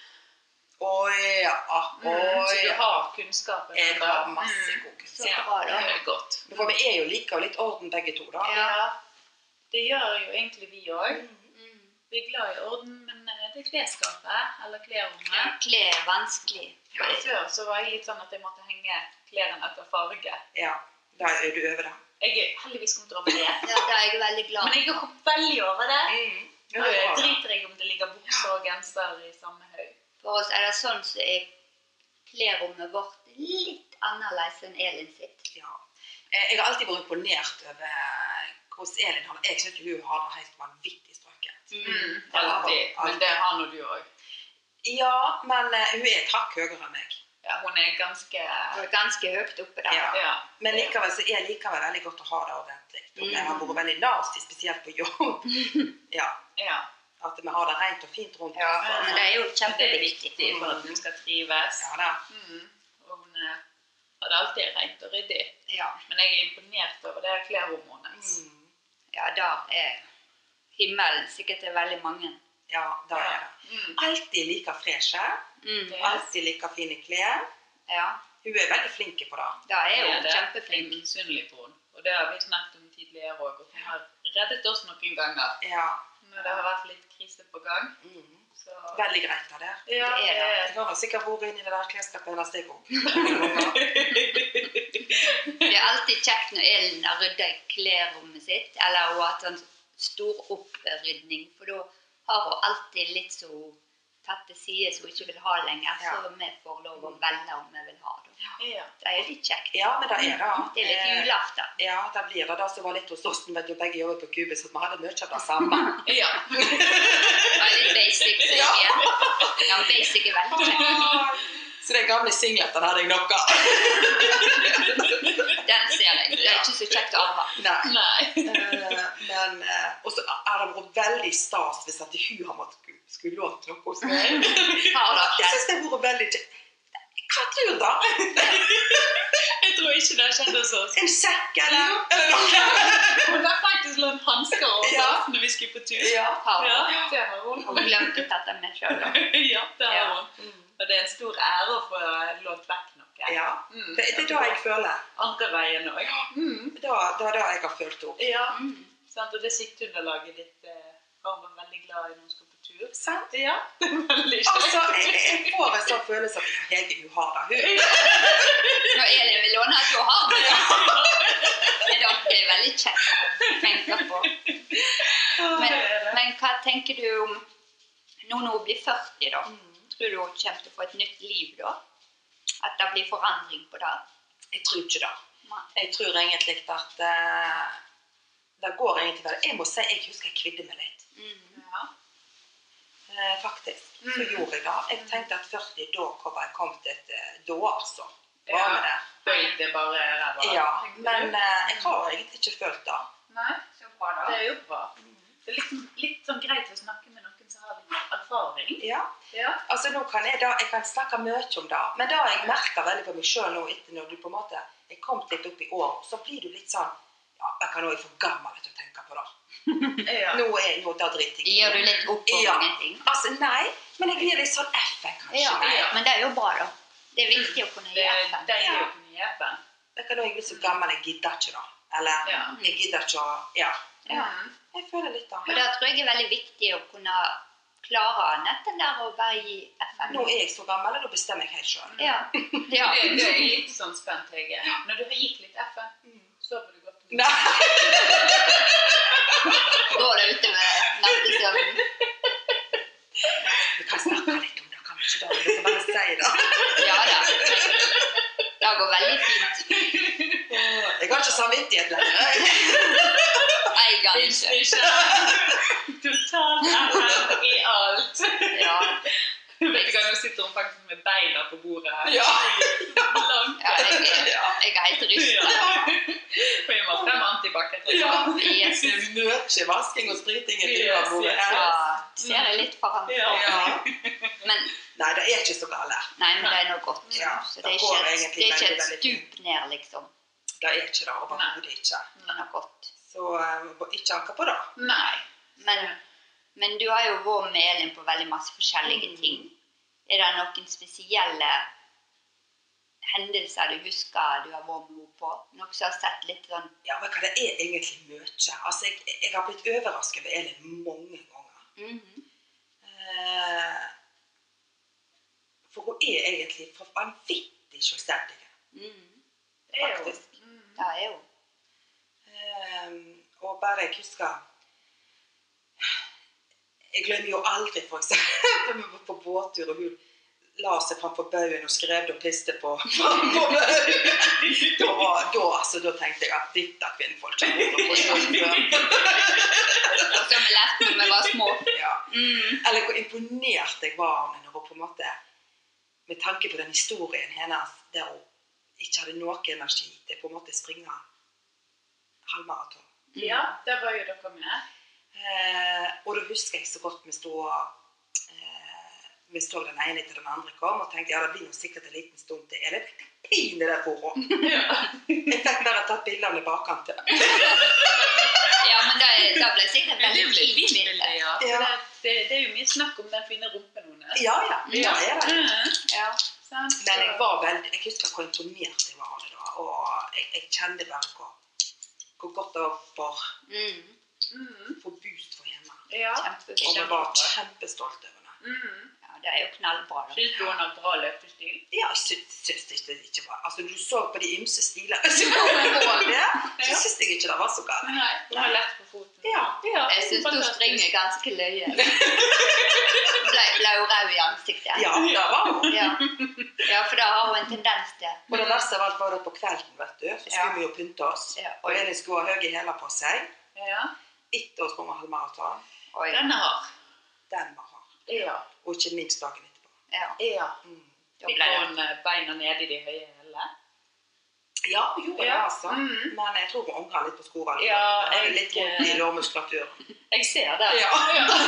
Å ja, å Så du ja. har kunnskapen. Jeg da. har masse Mm. god Så kunnskap. bra, da. Det er godt. For vi er jo like og litt orden begge to, da. Ja. Det gjør jo egentlig vi òg. Mm. Vi er glad i orden, men eh, det er klesskapet eller Ja, klærrommet. Kle er vanskelig. Før så var jeg litt sånn at jeg måtte henge klærne etter farge. Ja. Da er du over det. Jeg er heldigvis kommet over det. Ja, det er jeg veldig glad Men jeg for. er kommet veldig over det. Ja, Mm. Nå det er bra. driter jeg om det ligger bukser og genser i samme haug. For oss er det sånn som så er klerommet vårt litt annerledes enn Elin sitt. Ja. Eh, Jeg har alltid vært imponert over hvordan Elin har det. Jeg syns hun har det helt vanvittig strøket. Mm. Alltid. Men det har nå du òg. Ja, men eh, hun er et hakk høyere enn meg. Ja, hun er ganske Det er ganske høyt oppe der. Ja. Ja. Mm. Men likevel så er det likevel veldig godt å ha det ordentlig. Og vi har vært veldig nasty, spesielt [laughs] på jobb. Ja, ja. At vi har det rent og fint rundt altså. Ja, men det er jo Men det er kjempeviktig. viktig for at hun skal trives. Ja da. Mm. Og hun eh, har det alltid rent og ryddig. Ja, Men jeg er imponert over det klærhormonet hennes. Mm. ja der er himmelen sikkert til veldig mange. Ja, da er det. Mm. Alltid like eh? freshe. Mm. Ja. Alltid like fine klær. Ja, Hun er veldig flink på det. da er Ja, hun det. Jeg kjempeflink. er misunnelig på henne. Og det har vi snakket om tidligere òg. Og hun har reddet oss noen ganger Ja. når det har vært litt krise på gang. Mm. Så Veldig greit det der. ja, eh. det er det. Jeg har nå sikkert vært inni det der klesskapet hennes, jeg òg. Det er alltid kjekt når Elin har rydda i klerommet sitt, eller hun har hatt en stor opprydning, for da har hun alltid litt så tatt til side som hun ikke vil ha lenger, Ja. så vi får lov å velge om vi vil ha det. [laughs] Ja. Det er litt kjekt. Ja, men det er det. Det er litt Eh, julaften. Ja, det blir det. Det som var litt hos oss, men vi begge jobber på Cubus, så vi hadde mye av det samme. [laughs] ja. Det er litt basic. som Ja. ikke er- Ja, basic er veldig kjekt. [laughs] Så den gamle singleten hadde jeg nok av. [laughs] Den ser jeg. Det er ikke så kjekt å arve. Nei. Nei. Eh, men eh, Og så er det vært veldig stas hvis at hun har måttet gu- skulle lånt noe hos meg. Har dere Jeg syns det har vært veldig kje- Hva [laughs] tror du, da? Jeg tror ikke det har skjedd hos oss. En sekk, eller? Eller noe? Hun har faktisk lånt hansker hos Ja. oss når vi skulle på tur. Ja. Har Ja, dere? det har hun. Har vi glemt å tatt den med sjøl, da? Ja, det har Ja. hun. Og det er en stor ære å få lånt vekk noe. [laughs] ja. Mm. Det, det er da jeg føler. Andre veien òg. Da- Det er da jeg har følt opp. Ja. Mm. Sant? Og det sikteunderlaget ditt eh, var man veldig glad i når man skal på tur. Sant? Ja, [laughs] det er veldig Altså, kjekt. jeg, jeg får en sånn følelse av at Hege, hun har det. Hun, Når Elin vil låne, da har vi det. Men da, det er veldig kjekt å tenke på. [laughs] Men, men hva tenker du om nå når hun blir 40, da? Mm. Tror du hun kommer til å få et nytt liv da? At det blir forandring på det? jeg tror ikke det. Nei. Jeg tror egentlig at eh, det går egentlig vel. Jeg må si jeg husker jeg kvidde meg litt. Ja. Eh, faktisk. Så Mm. gjorde jeg det. Jeg tenkte at 40, da kom jeg kom til et eh, da, altså. Hva Ja. med det? Da gikk det bare ræva. Ja, tenkte du? men eh, jeg har egentlig ikke følt det. Nei, Så bra, det er jo bra. Det er litt, litt sånn greit å snakke med noen som har litt erfaring. Ja. Ja. Altså nå kan jeg, da, jeg kan snakke mye om det, men det jeg merker veldig på meg sjøl nå etter når du på en måte er kommet litt opp i år, så blir du litt sånn ja, jeg kan også være for gammel til å tenke på det. Ja. Nå er nå, da driter jeg Gir du litt opp på Ja. mange ting? Altså, nei, men jeg gir litt sånn F, jeg, kanskje. Ja, Nei. men det er jo bra, da. Det er viktig å kunne Det gi er Mm. FN. deilig å kunne gi FN. Jeg kan også bli så gammel, jeg gidder ikke det. Eller Ja. jeg gidder ikke å Ja. Ja. Jeg føler litt Og da. det tror jeg er veldig viktig å kunne klare nettet der å bare gi FN. Nå er jeg så gammel, og da bestemmer jeg helt sjøl. Ja. ja. Det, det er litt sånn spent, Hege. Når du har gitt litt FN, Mm. sover du godt. Nei, Går det utover nattesøvnen? vi kan snakke litt om det, kan vi ikke da? Vi kan bare si det. Ja da. Det går veldig fint. Jeg har ikke samvittighet lenger. Jeg kan ikke. Totalt FN i alt. Ja. Vet du hva, nå sitter hun faktisk med beina på bordet her. Ja. Langt. ja jeg, jeg er Ja. helt rysta. For jeg må frem antibac etterpå. Ja. Yes. Det er mye vasking og spriting i Yes, dyrebordet yes, her. Ja, ser jeg litt foran. Ja. Ja. Men Nei, det er ikke så gale. nei, men det er nå godt. Ja, Så det det er går ikke, egentlig det er ikke et veldig, veldig fint. stup ned, liksom. Det er ikke det. Overhodet ikke. Det er noe godt. Så eh, ikke anke på det. Nei. Men, men du har jo vært med Elin på veldig masse forskjellige Mm. ting. Er det noen spesielle hendelser du husker du har vært med henne på? Noe som har sett litt sånn Ja, men hva det er egentlig mye. Altså, jeg, jeg har blitt overrasket over Elin mange ganger. mhm. Eh, For hun er egentlig for vanvittig selvstendig. Mhm. Det er jo. Faktisk. Mm. Det er jo Eh, Og bare jeg husker Jeg glemmer jo aldri, for eksempel, [laughs] vi var på båttur, og hun la seg framfor baugen og skrev og piste på [laughs] framfor baugen. Da, var- da, altså, da tenkte jeg at dette kvinnfolk har vært på sjøen før. Og som vi lærte når vi var små. Ja. Mm. Eller hvor imponert jeg var av henne når hun på en måte Med tanke på den historien hennes der hun ikke hadde noe energi til på en måte springe halvmaraton. Ja, der var jo dere med. Eh, og da husker jeg så godt vi sto eh, vi så den ene etter den andre kom og tenkte ja, det blir nå sikkert en liten stund til. Eller pine der for henne. Jeg fikk bare tatt bilde av henne i bakkant. Ja, men det, det ble sikkert et Men det veldig blir fint fint, bilde. ja. For Ja. Det, det, det er jo mye snakk om den fine rumpen hennes. Ja, ja. ja, det er det. Mm. Ja. Sant? Men jeg var veldig, jeg husker hvor imponert jeg var av det da. Og jeg, jeg kjente bare hvor, hvor godt det var for, Mm. Mm. for boost for henne. Ja. Og vi Kjempefint. var kjempestolte over det. Mm. Ja, det er jo knallbra. da. [laughs] Syns du hun har bra løpestil? Ja, jeg sy- syns ikke det ikke var Altså, når du så på de ymse [laughs] stilene som var der, så syns jeg ikke det var så galt. Nei, hun har lett på foten. Ja. Jeg syns hun fantastisk. springer ganske [laughs] løye. Ble, ble hun rød i ansiktet? Ja, det var hun. Ja. ja, for det har hun en tendens til. Og det verste av alt var det på kvelden, vet du. Så skulle Ja. vi jo pynte oss. Ja, Og oi. Elin skulle ha høye hæler på seg. Ja. Etter å ha sprunget halvmaraton. Oi. Den er hard. Den var hard. Ja. Og ikke minst dagen etterpå. Ja, ja. Mm. da Fikk ble det hun eh, beina ned i de høye hælene? Ja, hun gjorde det, Ja. altså. Mm. Men jeg tror hun angrer litt på skovalget. Ja, Det er jeg- litt vondt i lårmuskulaturen. Jeg ser det. [laughs] Ja.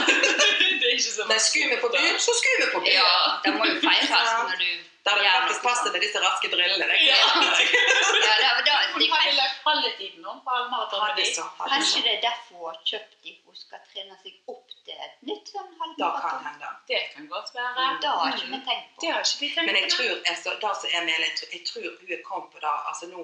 det er ikke så Men skulle vi på byen, så skulle vi på byen. Ja, det må jo feires Ja. når du Da hadde det gjør faktisk noe passet sånt. med disse raske brillene. det. sånn. [laughs] Ja. Ja, det var da, Hun de, hadde kanskje, lagt halve tiden om på halvmaraton med Hadde de. så, hadde kanskje så. det er derfor hun har kjøpt de. Hun skal trene seg opp til et nytt sånn Da kan halvmaraton. hende. Det kan godt være. Det har ikke vi tenkt Det på. har ikke vi tenkt Men jeg på. tror, altså, det som er med, Elin, jeg tror- jeg tror hun er kommet på det. Altså nå,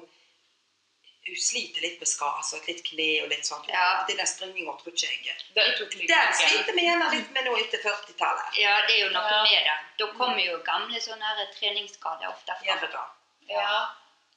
hun sliter litt med skade, altså et litt kne og litt sånn. Ja. Det der springingen tror ikke jeg. Den tok litt Den tid. sliter vi gjerne litt med nå etter 40-tallet. Ja, det er jo noe Ja. med det. Da kommer jo gamle sånne her treningsskader ofte Gjør fram. det da. Ja.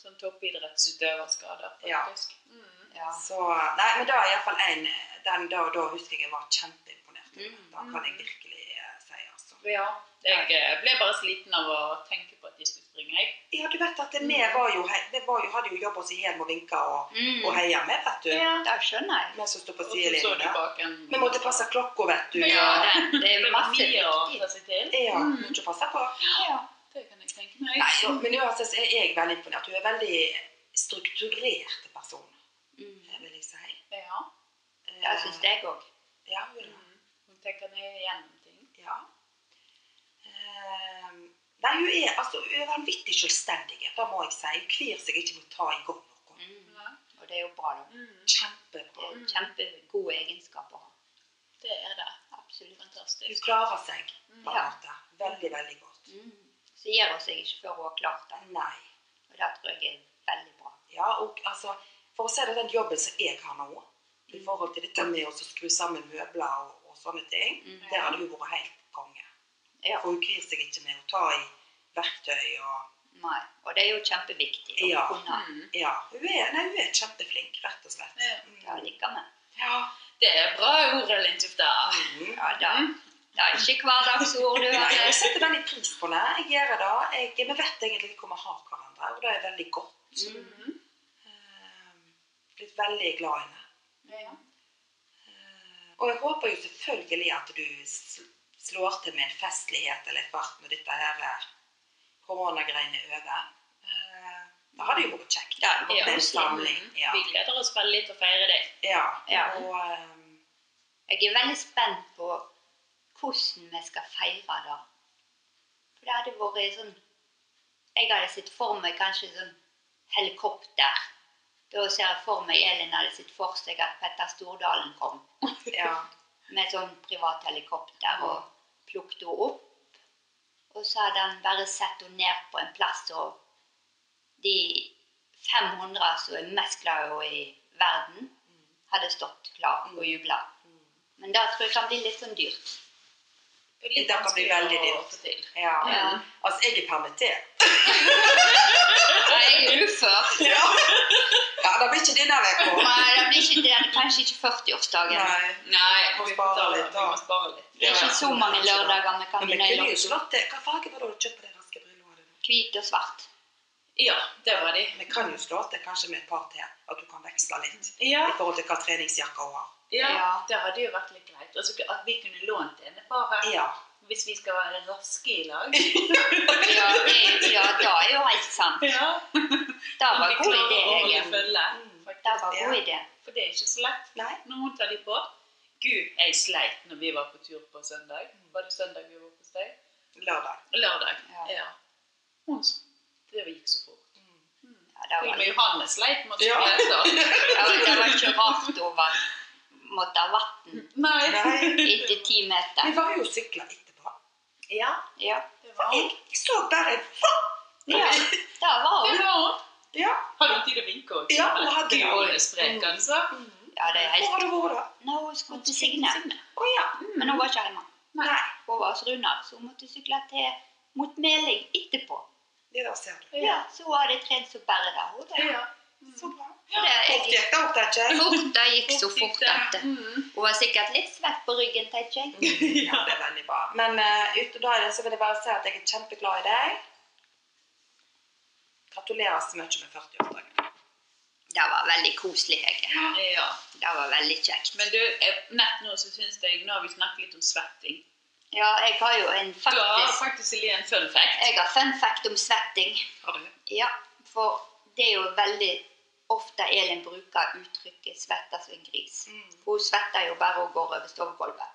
Sånn toppidrettsutøverskader, Ja. faktisk. Mm. Ja. Så, nei, men da er iallfall en den da, da husker jeg jeg var kjempeimponert. Mm. Da kan jeg virkelig eh, si, altså. ja. Jeg eh, ble bare sliten av å tenke på at de skulle springe, jeg. Ja, du vet at vi Mm. var jo, he- vi var jo, hadde jo jobb oss i hjem og vinka og, Mm. og heia med, vet du. Det skjønner jeg. Vi som står på Og så så du sidelinja. bak en Vi måtte passe klokka, vet du. Ja, Ja. Mm. det, det er Det var masse mye å viktig. passe til. Ja, må ikke passe på. Ja. Det kan jeg tenke meg. Nei, så, men uansett så er jeg veldig imponert. Hun er veldig strukturert person, Mm. det vil jeg si. Ja. Eh, Det syns jeg òg. Ja, hun er det. Hun tenker ned igjennom ting. ja. Ehm, Nei, hun er, altså, hun er vanvittig selvstendig. Det må jeg si. Hun kvir seg ikke mot ta i godt nok. Mm. Og det er jo bra, da. Det Kjempebra. er Kjempegode egenskaper. Mm. Det er det. Absolutt. Hun Fantastisk. klarer seg på en Mm. Ja. måte. Veldig, veldig godt. Mm. Så gir hun seg ikke før hun har klart det. Nei. Og det tror jeg er veldig bra. Ja, og altså, for å si det, den jobben som jeg har nå, i Mm. forhold til dette med å skru sammen møbler og, og sånne ting, Mm. der hadde hun vært helt konge. Ja. For hun kvir seg ikke med å ta i verktøy og Nei. Og det er jo kjempeviktig å Ja. kunne. Mm. Ja, hun er, nei, hun er kjempeflink, rett og slett. Ja. Ja, Mm. liker vi. Ja. Det er bra ord, Elin Tufta. Mm. Ja, da. Det er ikke hverdagsord du Nei, har jeg lest. setter veldig pris på det. Jeg gjør det. Jeg, vi vet egentlig hvor vi har hverandre, og det er veldig godt. Mhm. Ehm, Blitt veldig glad i henne. Ja. Ehm, Og jeg håper jo selvfølgelig at du sl- slår til med en festlighet eller et fart når dette her eh, koronagreiene er over. Ehm, Det hadde jo vært kjekt. Ja, Med Ja. en samling. Ja. Vi gleder oss veldig til å feire deg. ja. Ja. Og ehm, Jeg er veldig spent på hvordan vi skal feire det. For det hadde vært sånn Jeg hadde sett for meg kanskje sånn helikopter. Da ser jeg for meg Elin hadde sett for seg at Petter Stordalen kom ja. med sånn privat helikopter og plukket henne opp. Og så hadde han bare satt henne ned på en plass og de 500 som er mest glad i henne i verden, hadde stått klar og jubla. Men det tror jeg kan bli litt sånn dyrt. Det er litt Det kan bli vanskelig veldig å dyrt. få til. ja. Ja. Altså, jeg er permittert. Nei, jeg er ufør. Ja. [laughs] ja, det blir ikke denne uka. Nei, det blir ikke, det er kanskje ikke 40-årsdagen. Nei. Nei, Vi må vi spare betaler. litt, da. Vi må spare litt. Det er ikke så mange lørdager vi kan Men vi vinne i kunne jo lotto. slått det. Hva farge var det du kjøpte de raske brillene? dine? Hvit og svart. Ja, det var de. Vi kan jo slå til kanskje med et par til, at du kan veksle litt Ja, i forhold til hva treningsjakka hun har. ja, Ja. det hadde jo vært litt greit. Altså, at vi kunne lånt en et par her, Ja. hvis vi skal være raske i [laughs] lag. Ja, det, ja, det er jo helt sant. Ja, Det var en god idé, jeg. Hege. Det var en god idé. For det er ikke så lett Mm. Nei. når hun tar de på. Gud, jeg sleit når vi var på tur på søndag. Var det søndag vi var hos deg? Lørdag. Lørdag. Ja. Ja. Hun s- Det gikk så fort. Ja, det Til og var med Johanne sleit med å Ja. sykle etter. Ja, det var ikke rart hun var, måtte ha vann Nei. Nei. etter ti Vi meter. var jo og sykla etterpå. Ja, Ja, det var hun. Jeg så bare ja det var Det hun. var hun. Ja. Hadde hun tid å vinke også? Ja, hun hadde det. Gud, hun er sprek, altså. Ja, det er Mm. Hvor helt... har du vært da? Nå hun skulle til Signe, Å ja. men hun var ikke hjemme. Nei. Hun var hos Runar, så hun måtte sykle til mot Meling etterpå. Det der ser du. Ja, så hun hadde trent så bare det. Hun da. Ja. Så bra. For det Fort jeg, gikk det opp, tenker jeg. fort, det gikk så fort at det- Mm. hun var sikkert litt svett på ryggen, [laughs] tenker jeg. Ja, Mm. det er veldig bra. Men uh, utover det så vil jeg bare si at jeg er kjempeglad i deg. Gratulerer så mye med 40-årsdagen. Det var veldig koselig, Hege. Ja. Det var veldig kjekt. Men du, jeg- nett nå så syns jeg Nå [laughs] har vi snakket litt om svetting. Ja, jeg har jo en Du har faktisk... faktisk Eli, en fun fact. Jeg har fun fact om svetting. Har du? Ja, for det er jo veldig ofte Elin bruker uttrykket 'svette som en gris'. Hun svetter jo bare og går over stovegulvet.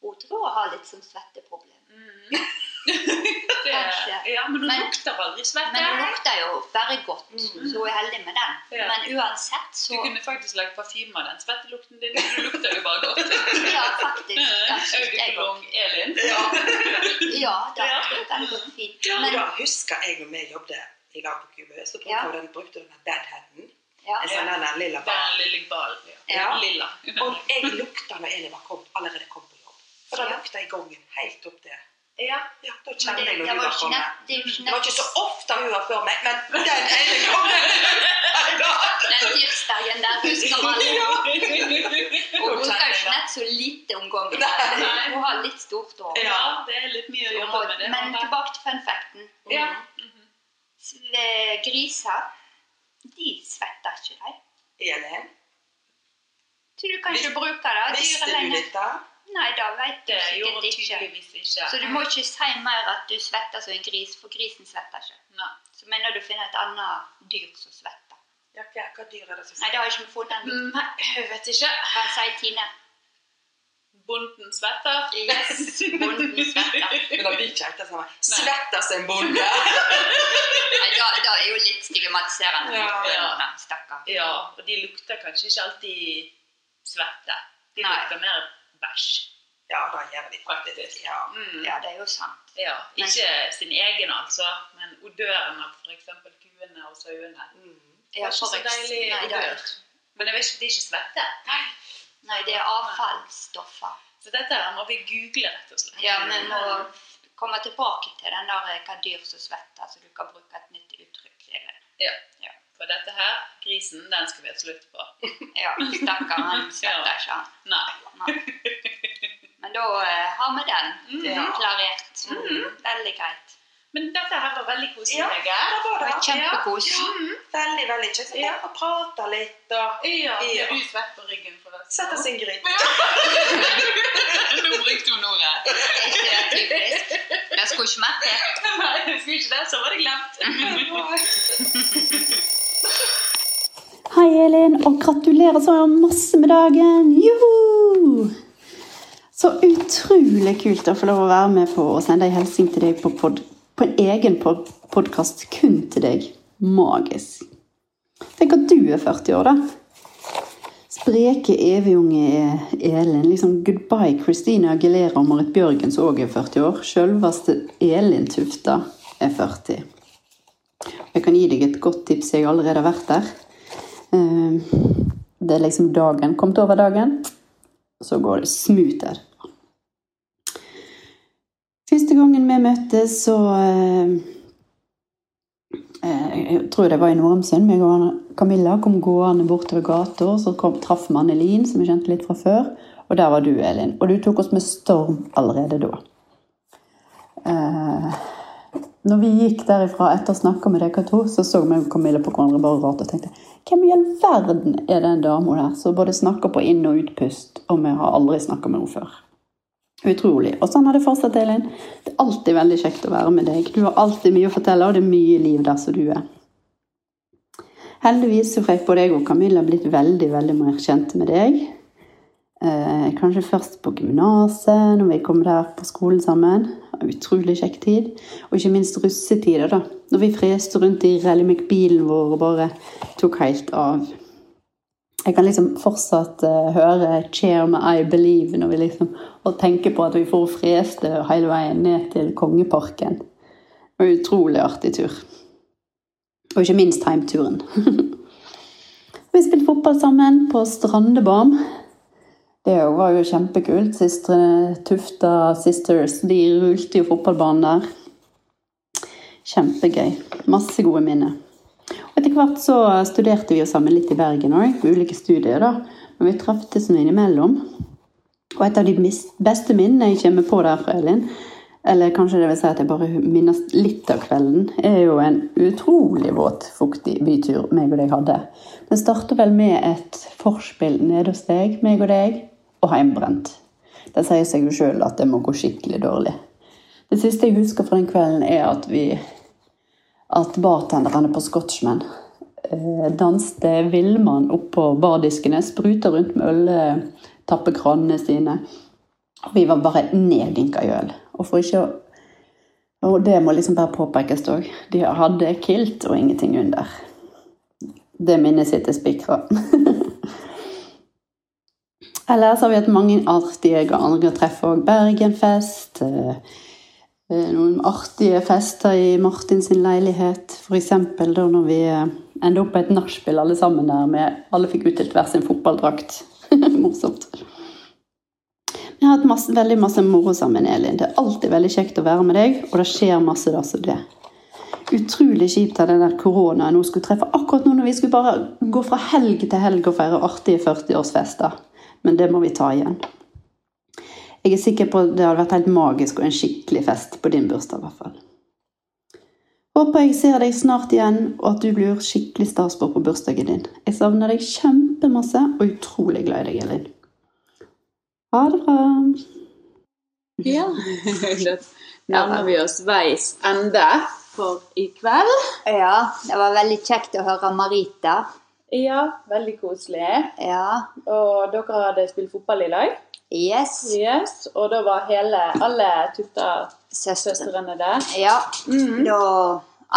Hun tror hun har litt sånn svetteproblem. Mm. [laughs] Det- Kanskje. Ja, men hun Men- lukter aldri svette. Men hun lukter jo bare godt, så hun er heldig med den. Ja. Men uansett Du så kunne faktisk lagd parfyme av den svettelukten din. Du lukter jo [laughs] bare godt. Ja, faktisk. Ja, synes jeg godt. Øyekolong Elin. [laughs] Ja, da tror jeg den går fint. Og Men da husker jeg når vi jobbet i lag på Kube, så brukte Ja. hun den, brukte den bedheaden. ja, En sånn den der lilla Den bar. lille ball. Ja. Lilla. [laughs] Og jeg lukta når Eli var kom, allerede kom på jobb. For da Ja. lukta jeg gangen helt opp der. Ja. Ja, da men kjente det, jeg det når hun var jo var ikke kommet. nett. Det er jo ikke Det var ikke så nett. ofte hun var før meg, men den ene gangen Den tirsdagen der husker alle. [laughs] [laughs] Ja. Og hun bruker jo ikke nett så lite om gangen. Nei. Hun har litt stort hår. ja, det er litt mye å Men jobbe med det. tilbake til fun facten. Ja. Sve- Griser, de svetter ikke, de. Eli, Tror du kanskje bruker det? visste Dyret du lenge. dette? Nei, det vet du Det gjorde sikkert hun ikke. tydeligvis ikke. Så du må ikke si mer at du svetter som en gris, for grisen svetter ikke. Nei. Så mener du finner et annet dyr som svetter. Ja, hva, hva dyr er det som Mm, Mm, Nei, det har ikke vi funnet ennå. Nei, jeg vet ikke. Kan si Tine. Bonden svetter. Yes, bonden svetter. Men det blir ikke helt det samme. Svetter som en bonde! Nei, da, da er jo litt stigmatiserende. Ja, ja. Nei, Stakkar. [laughs] Ja, og de lukter kanskje ikke alltid svette. De Nei. lukter mer bæsj, Ja, det gjør de faktisk. Ja. Mm. Ja, det er jo sant. Ja, ikke sin egen altså, men odøren av f.eks. kuene og sauene. Mm. Det Ja, er ikke så for eks- deilig Nei, det er odør. Men jeg vet ikke, det er ikke svette. Nei, det er avfallsstoffer. Så dette her må vi google, rett og slett. Ja, vi må komme tilbake til den der eh, hva dyr som svetter, så du kan bruke et nytt uttrykk. Eller. Ja. For dette her, grisen, den skal vi ha slutt på. Ja, stakkar, han svetter Ja. ikke, han. Nei. Nei. Men da eh, har vi den Mm. Ja. Mm. klarert. Mm, Veldig greit. Men dette her var veldig koselig. Ja, Hege. det var Det det. var kjempekos. Veldig, veldig kjekt. Ja. Og prate litt og Ja, Ja. blir du svett på ryggen for det? sette oss en gryte. Nå brukte hun ordet. Det er ikke typisk. Det skulle ikke mer til. Nei, jeg skulle ikke det, så var det glemt. Hei, Elin, og gratulerer så masse med dagen! Juhu! Så utrolig kult å få lov å være med på å sende en hilsen til deg på, pod, på en egen pod, podkast kun til deg. Magisk. Tenk at du er 40 år, da. Spreke evigunge Elin. Liksom goodbye Christina Aguilera og Marit Bjørgen, som òg er 40 år. Sjølveste Elin Tufta er 40. Jeg kan gi deg et godt tips, jeg har allerede har vært der. Eh, Det er liksom dagen. Komt over dagen, så går det smooth der. Første gangen vi møttes, så eh, eh, Jeg tror det var i Norheimsund. meg og Anna- Camilla kom gående bortover gata, så kom, traff vi Annelin, som jeg kjente litt fra før. Og der var du, Elin. Og du tok oss med storm allerede da. Eh, når vi gikk derifra etter å snakke med dere to, så så vi og Camilla på hverandre bare rart og tenkte Hvem i all verden er den dama der som både snakker på inn- og utpust, og vi har aldri snakka med henne før? Utrolig. Og sånn har det fortsatt, Elin. Det er alltid veldig kjekt å være med deg. Du har alltid mye å fortelle, og det er mye liv der som du er. Heldigvis så fikk både jeg og Camilla blitt veldig, veldig mer kjente med deg. Eh, kanskje først på gymnaset, når vi kom der på skolen sammen. Utrolig kjekk tid. Og ikke minst russetider, da. Når vi freste rundt i Rally McBealen vår og bare tok helt av. Jeg kan liksom fortsatt eh, høre 'Cheer me I believe' når vi liksom, og tenke på at vi får freste hele veien ned til Kongeparken. Det var en utrolig artig tur. Og ikke minst heimturen. [laughs] vi spilte fotball sammen på Strandebarn. Det jo- var jo kjempekult. Sistre Tufta Sisters de rulte jo fotballbanen der. Kjempegøy. Masse gode minner. Og Etter hvert så studerte vi jo sammen litt i Bergen òg, på ulike studier. da. Men vi treftes nå innimellom. Og et av de mis- beste minnene jeg kommer på der fra Elin, eller kanskje det vil si at jeg bare minnes litt av kvelden, er jo en utrolig våt, fuktig bytur meg og deg hadde. Den starter vel med et forspill nede hos deg, meg og deg, og heimbrent. Det sier seg jo sjøl at det må gå skikkelig dårlig. Det siste jeg husker fra den kvelden, er at vi at bartenderne på Scotchman eh, danste villmann opp på bardiskene, spruta rundt med øltappekranene sine. Og vi var bare neddynka i øl. Og for ikke å Og det må liksom bare påpekes òg. De hadde kilt og ingenting under. Det minnet sitter spikra. [laughs] Ellers har vi hatt mange artige andre treff òg. Bergenfest. Eh, eh, noen artige fester i Martin sin leilighet. F.eks. da når vi eh, endte opp på et nachspiel alle sammen der med alle fikk utdelt hver sin fotballdrakt. [laughs] Morsomt. Vi har hatt masse, veldig masse moro sammen, Elin. Det er alltid veldig kjekt å være med deg, og det skjer masse der som det. Utrolig kjipt at den der koronaen nå skulle treffe akkurat nå når vi skulle bare gå fra helg til helg og feire artige 40-årsfester. Men det må vi ta igjen. Jeg er sikker på at det hadde vært helt magisk og en skikkelig fest på din bursdag. i hvert fall. Håper jeg ser deg snart igjen, og at du blir skikkelig stas på på bursdagen din. Jeg savner deg kjempemasse og er utrolig glad i deg, Elin. Ha det bra. Ja. Da nærmer vi oss veis ende for i kveld. Ja, det var veldig kjekt å høre Marita. Ja, veldig koselig. Ja, Og dere hadde spilt fotball i dag? Yes. Yes, og da var hele, alle Tufta-søstrene Søster. der. Ja. Mm. Da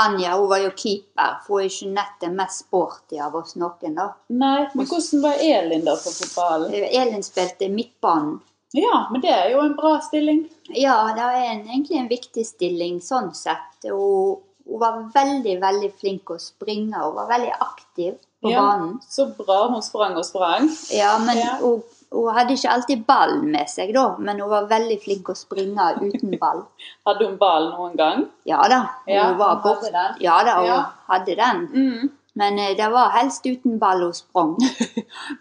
Anja hun var jo keeper, for hun er ikke nett den mest sporty av oss noen. da. Nei, men hvordan var Elin da på fotballen? Elin spilte midtbanen. Ja, men det er jo en bra stilling. Ja, det er en, egentlig en viktig stilling sånn sett. Hun, hun var veldig, veldig flink å springe. Hun var veldig aktiv på Ja. banen. Så bra hun sprang og sprang. Ja, men Ja. Hun, hun hadde ikke alltid ball med seg, da, men hun var veldig flink å springe uten ball. Hadde hun ball noen gang? Ja da, hun Ja, var hun hadde bort. den. Ja da, hun Ja. hadde den. Mm. Men eh, det var helst uten ball hun sprang.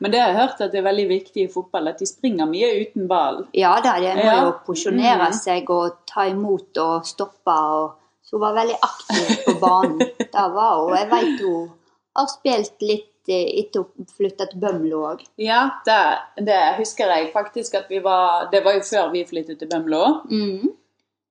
Men det har jeg hørt at det er veldig viktig i fotball at de springer mye uten ball. Ja da, det må Ja. jo posisjonere Mm. seg og ta imot og stoppe. Og, så hun var veldig aktiv på banen. Det var hun. Jeg veit hun har spilt litt eh, etter hun flytta til Bømlo òg. Ja, det, det husker jeg faktisk at vi var Det var jo før vi flyttet til Bømlo. Mm.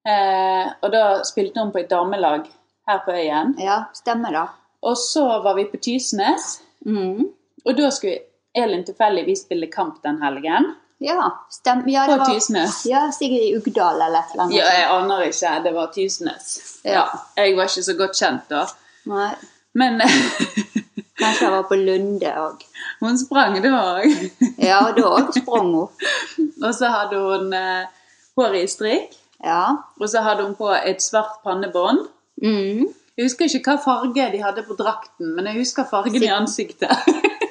Eh, og da spilte hun på et damelag her på øyen. Ja, stemmer det. Og så var vi på Tysnes, Mm. og da skulle Elin tilfeldigvis spille kamp den helgen. Ja, stemmer. Ja, det På var Tysnes. ja, sikkert i Ugdal eller et eller annet. Ja, jeg aner ikke. Det var Tysnes. Ja, jeg var ikke så godt kjent da. Nei, Men [laughs] kanskje jeg var på Lunde òg. hun sprang da òg. Ja, og da òg sprang hun. Og så hadde hun eh, håret i strikk. Ja. Og så hadde hun på et svart pannebånd. Mm. Jeg husker ikke hva farge de hadde på drakten, men jeg husker fargen i Sikkert. ansiktet. [laughs]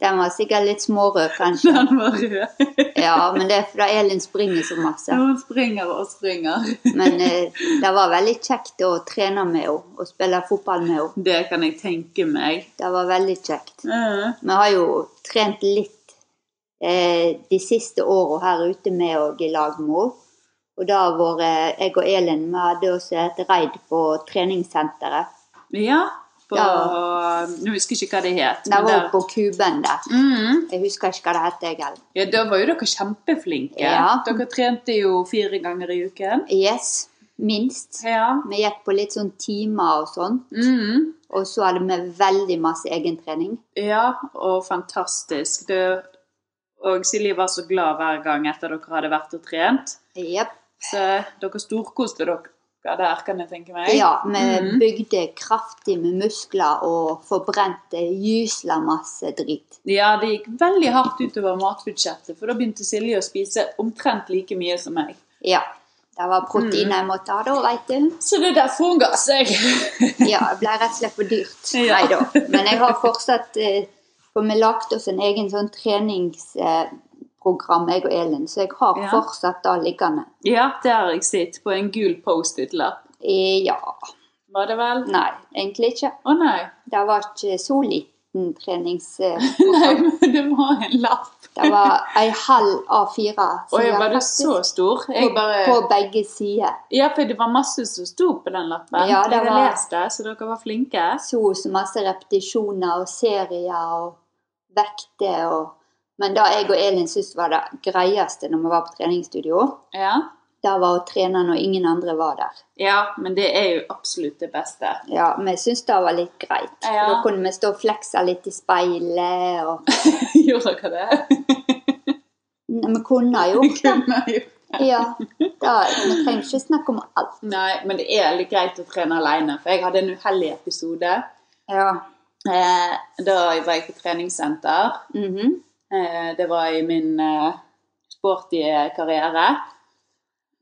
Den var sikkert litt smårød, kanskje. Den var rød. Ja, men det er fordi Elin springer så masse. Hun springer og springer. Men eh, det var veldig kjekt å trene med henne og spille fotball med henne. Det kan jeg tenke meg. Det var veldig kjekt. Mm. Vi har jo trent litt eh, de siste åra her ute med og i lag med henne. Og da har vært jeg og Elin Vi hadde også et raid på treningssenteret. Ja, på Ja. Nå husker jeg ikke hva det het. Det men var jo der- på Kuben der. Mm. Jeg husker ikke hva det het, jeg heller. Ja, da var jo dere kjempeflinke. Ja. Dere trente jo fire ganger i uken. Yes, minst. Ja. Vi gikk på litt sånn timer og sånn. Mm. Og så hadde vi veldig masse egentrening. Ja, og fantastisk. Det, og Silje var så glad hver gang etter dere hadde vært og trent. Jepp. Så dere storkoste dere der, kan jeg tenke meg. Ja, vi Mm. bygde kraftig med muskler og forbrente gysla masse dritt. Ja, det gikk veldig hardt utover matbudsjettet, for da begynte Silje å spise omtrent like mye som meg. Ja. Det var Mm-hmm. proteiner jeg måtte ha da, veit du. Så det er derfor hun ga seg. [laughs] Ja, det ble rett og slett for dyrt. Ja. Nei da. Men jeg har fortsatt eh, For vi lagde oss en egen sånn treningsprogram, jeg og Elin, så jeg har Ja. fortsatt det liggende. ja, det har jeg sett på en gul Post-It-lapp. Eh, Ja. Var det vel? Å Nei, egentlig ikke. nei. [laughs] Det var ikke så liten trenings... eh, Nei, men det var en lapp. Det var ei halv A4-side, Oi, var du så stor? Jeg bare... På begge sider. Ja, for det var masse som sto på den lappen. Ja, det jeg har var- lest det, så dere var flinke. Så så masse repetisjoner og serier og vekter og Men det jeg og Elin syntes var det greieste når vi var på treningsstudio, Ja. det var å trene når ingen andre var der. ja, men det er jo absolutt det beste. [laughs] Ja, Vi syntes det var litt greit. for Ja. Da kunne vi stå og flekse litt i speilet og Gjorde dere det? [laughs] Nei, Vi kunne jo det. Kunne jo Ja. Da, vi trenger ikke snakke om alt. Nei, men det er litt greit å trene alene. For jeg hadde en uheldig episode. Ja. Eh, da var jeg på treningssenter. Mhm. Eh, det var i min eh, sporty karriere. [laughs]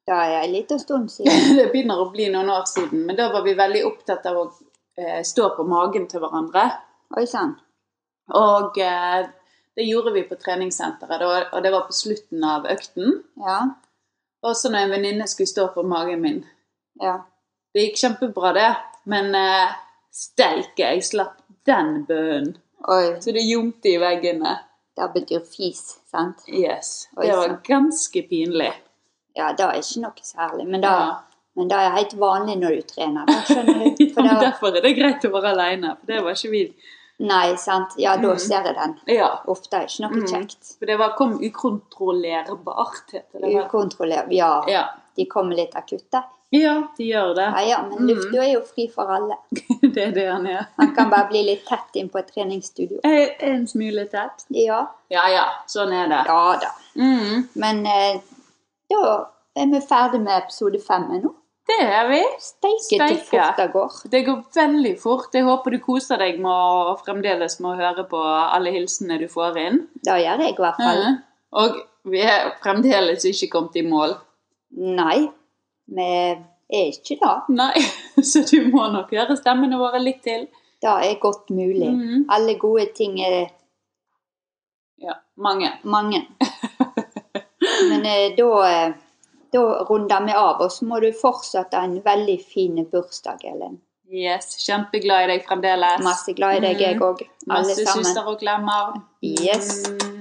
Det er en liten stund siden. det begynner å bli noen år siden, men da var vi veldig opptatt av å eh, stå på magen til hverandre. Oi sann. Og eh, det gjorde vi på treningssenteret, da, og det var på slutten av økten. Ja. Også når en venninne skulle stå på magen min. Ja. Det gikk kjempebra, det, men eh, steike, jeg slapp den bønnen. Oi. Så det ljomte i veggene. Det betyr fis, sant? Yes. Oi, Det var sant. ganske pinlig. Ja, det er ikke noe særlig. Men det, Ja. men det er helt vanlig når du trener. Da, skjønner du. [laughs] Ja, For men det, derfor er det greit å være aleine. For det var ikke vi. nei, sant. Ja, da Mm. ser jeg den. Ja. Ofte er det ikke noe Mm. kjekt. For det var, kom ukontrollerbart, heter det. vel? Ukontrollert. Ja, Ja. de kommer litt akutte. Ja, Mm. de gjør det. Ja, ja, men lufta er jo fri for alle. [laughs] Det er det han er. Han kan bare bli litt tett inn på et treningsstudio. Er er en smule tett. Ja, Ja ja, sånn er det. ja da. Mm, Men eh, da er vi ferdig med episode fem nå. det er vi. Steike til Steike. fort det går. Det går veldig fort. Jeg håper du koser deg med å fremdeles med å høre på alle hilsenene du får inn. Det gjør jeg i hvert fall. Mhm. Og vi er fremdeles ikke kommet i mål. Mm. Nei, vi er ikke det. Nei, [laughs] så du må nok høre stemmene våre litt til. Det er godt mulig. Mhm. Alle gode ting er Ja, mange. mange. Men eh, da, eh, da runder vi av, og så må du fortsatt ha en veldig fin bursdag, Ellen. Yes, kjempeglad i deg fremdeles. Masse glad i deg, jeg òg. Alle Masse sammen. søster og glemmer. Yes. Mm.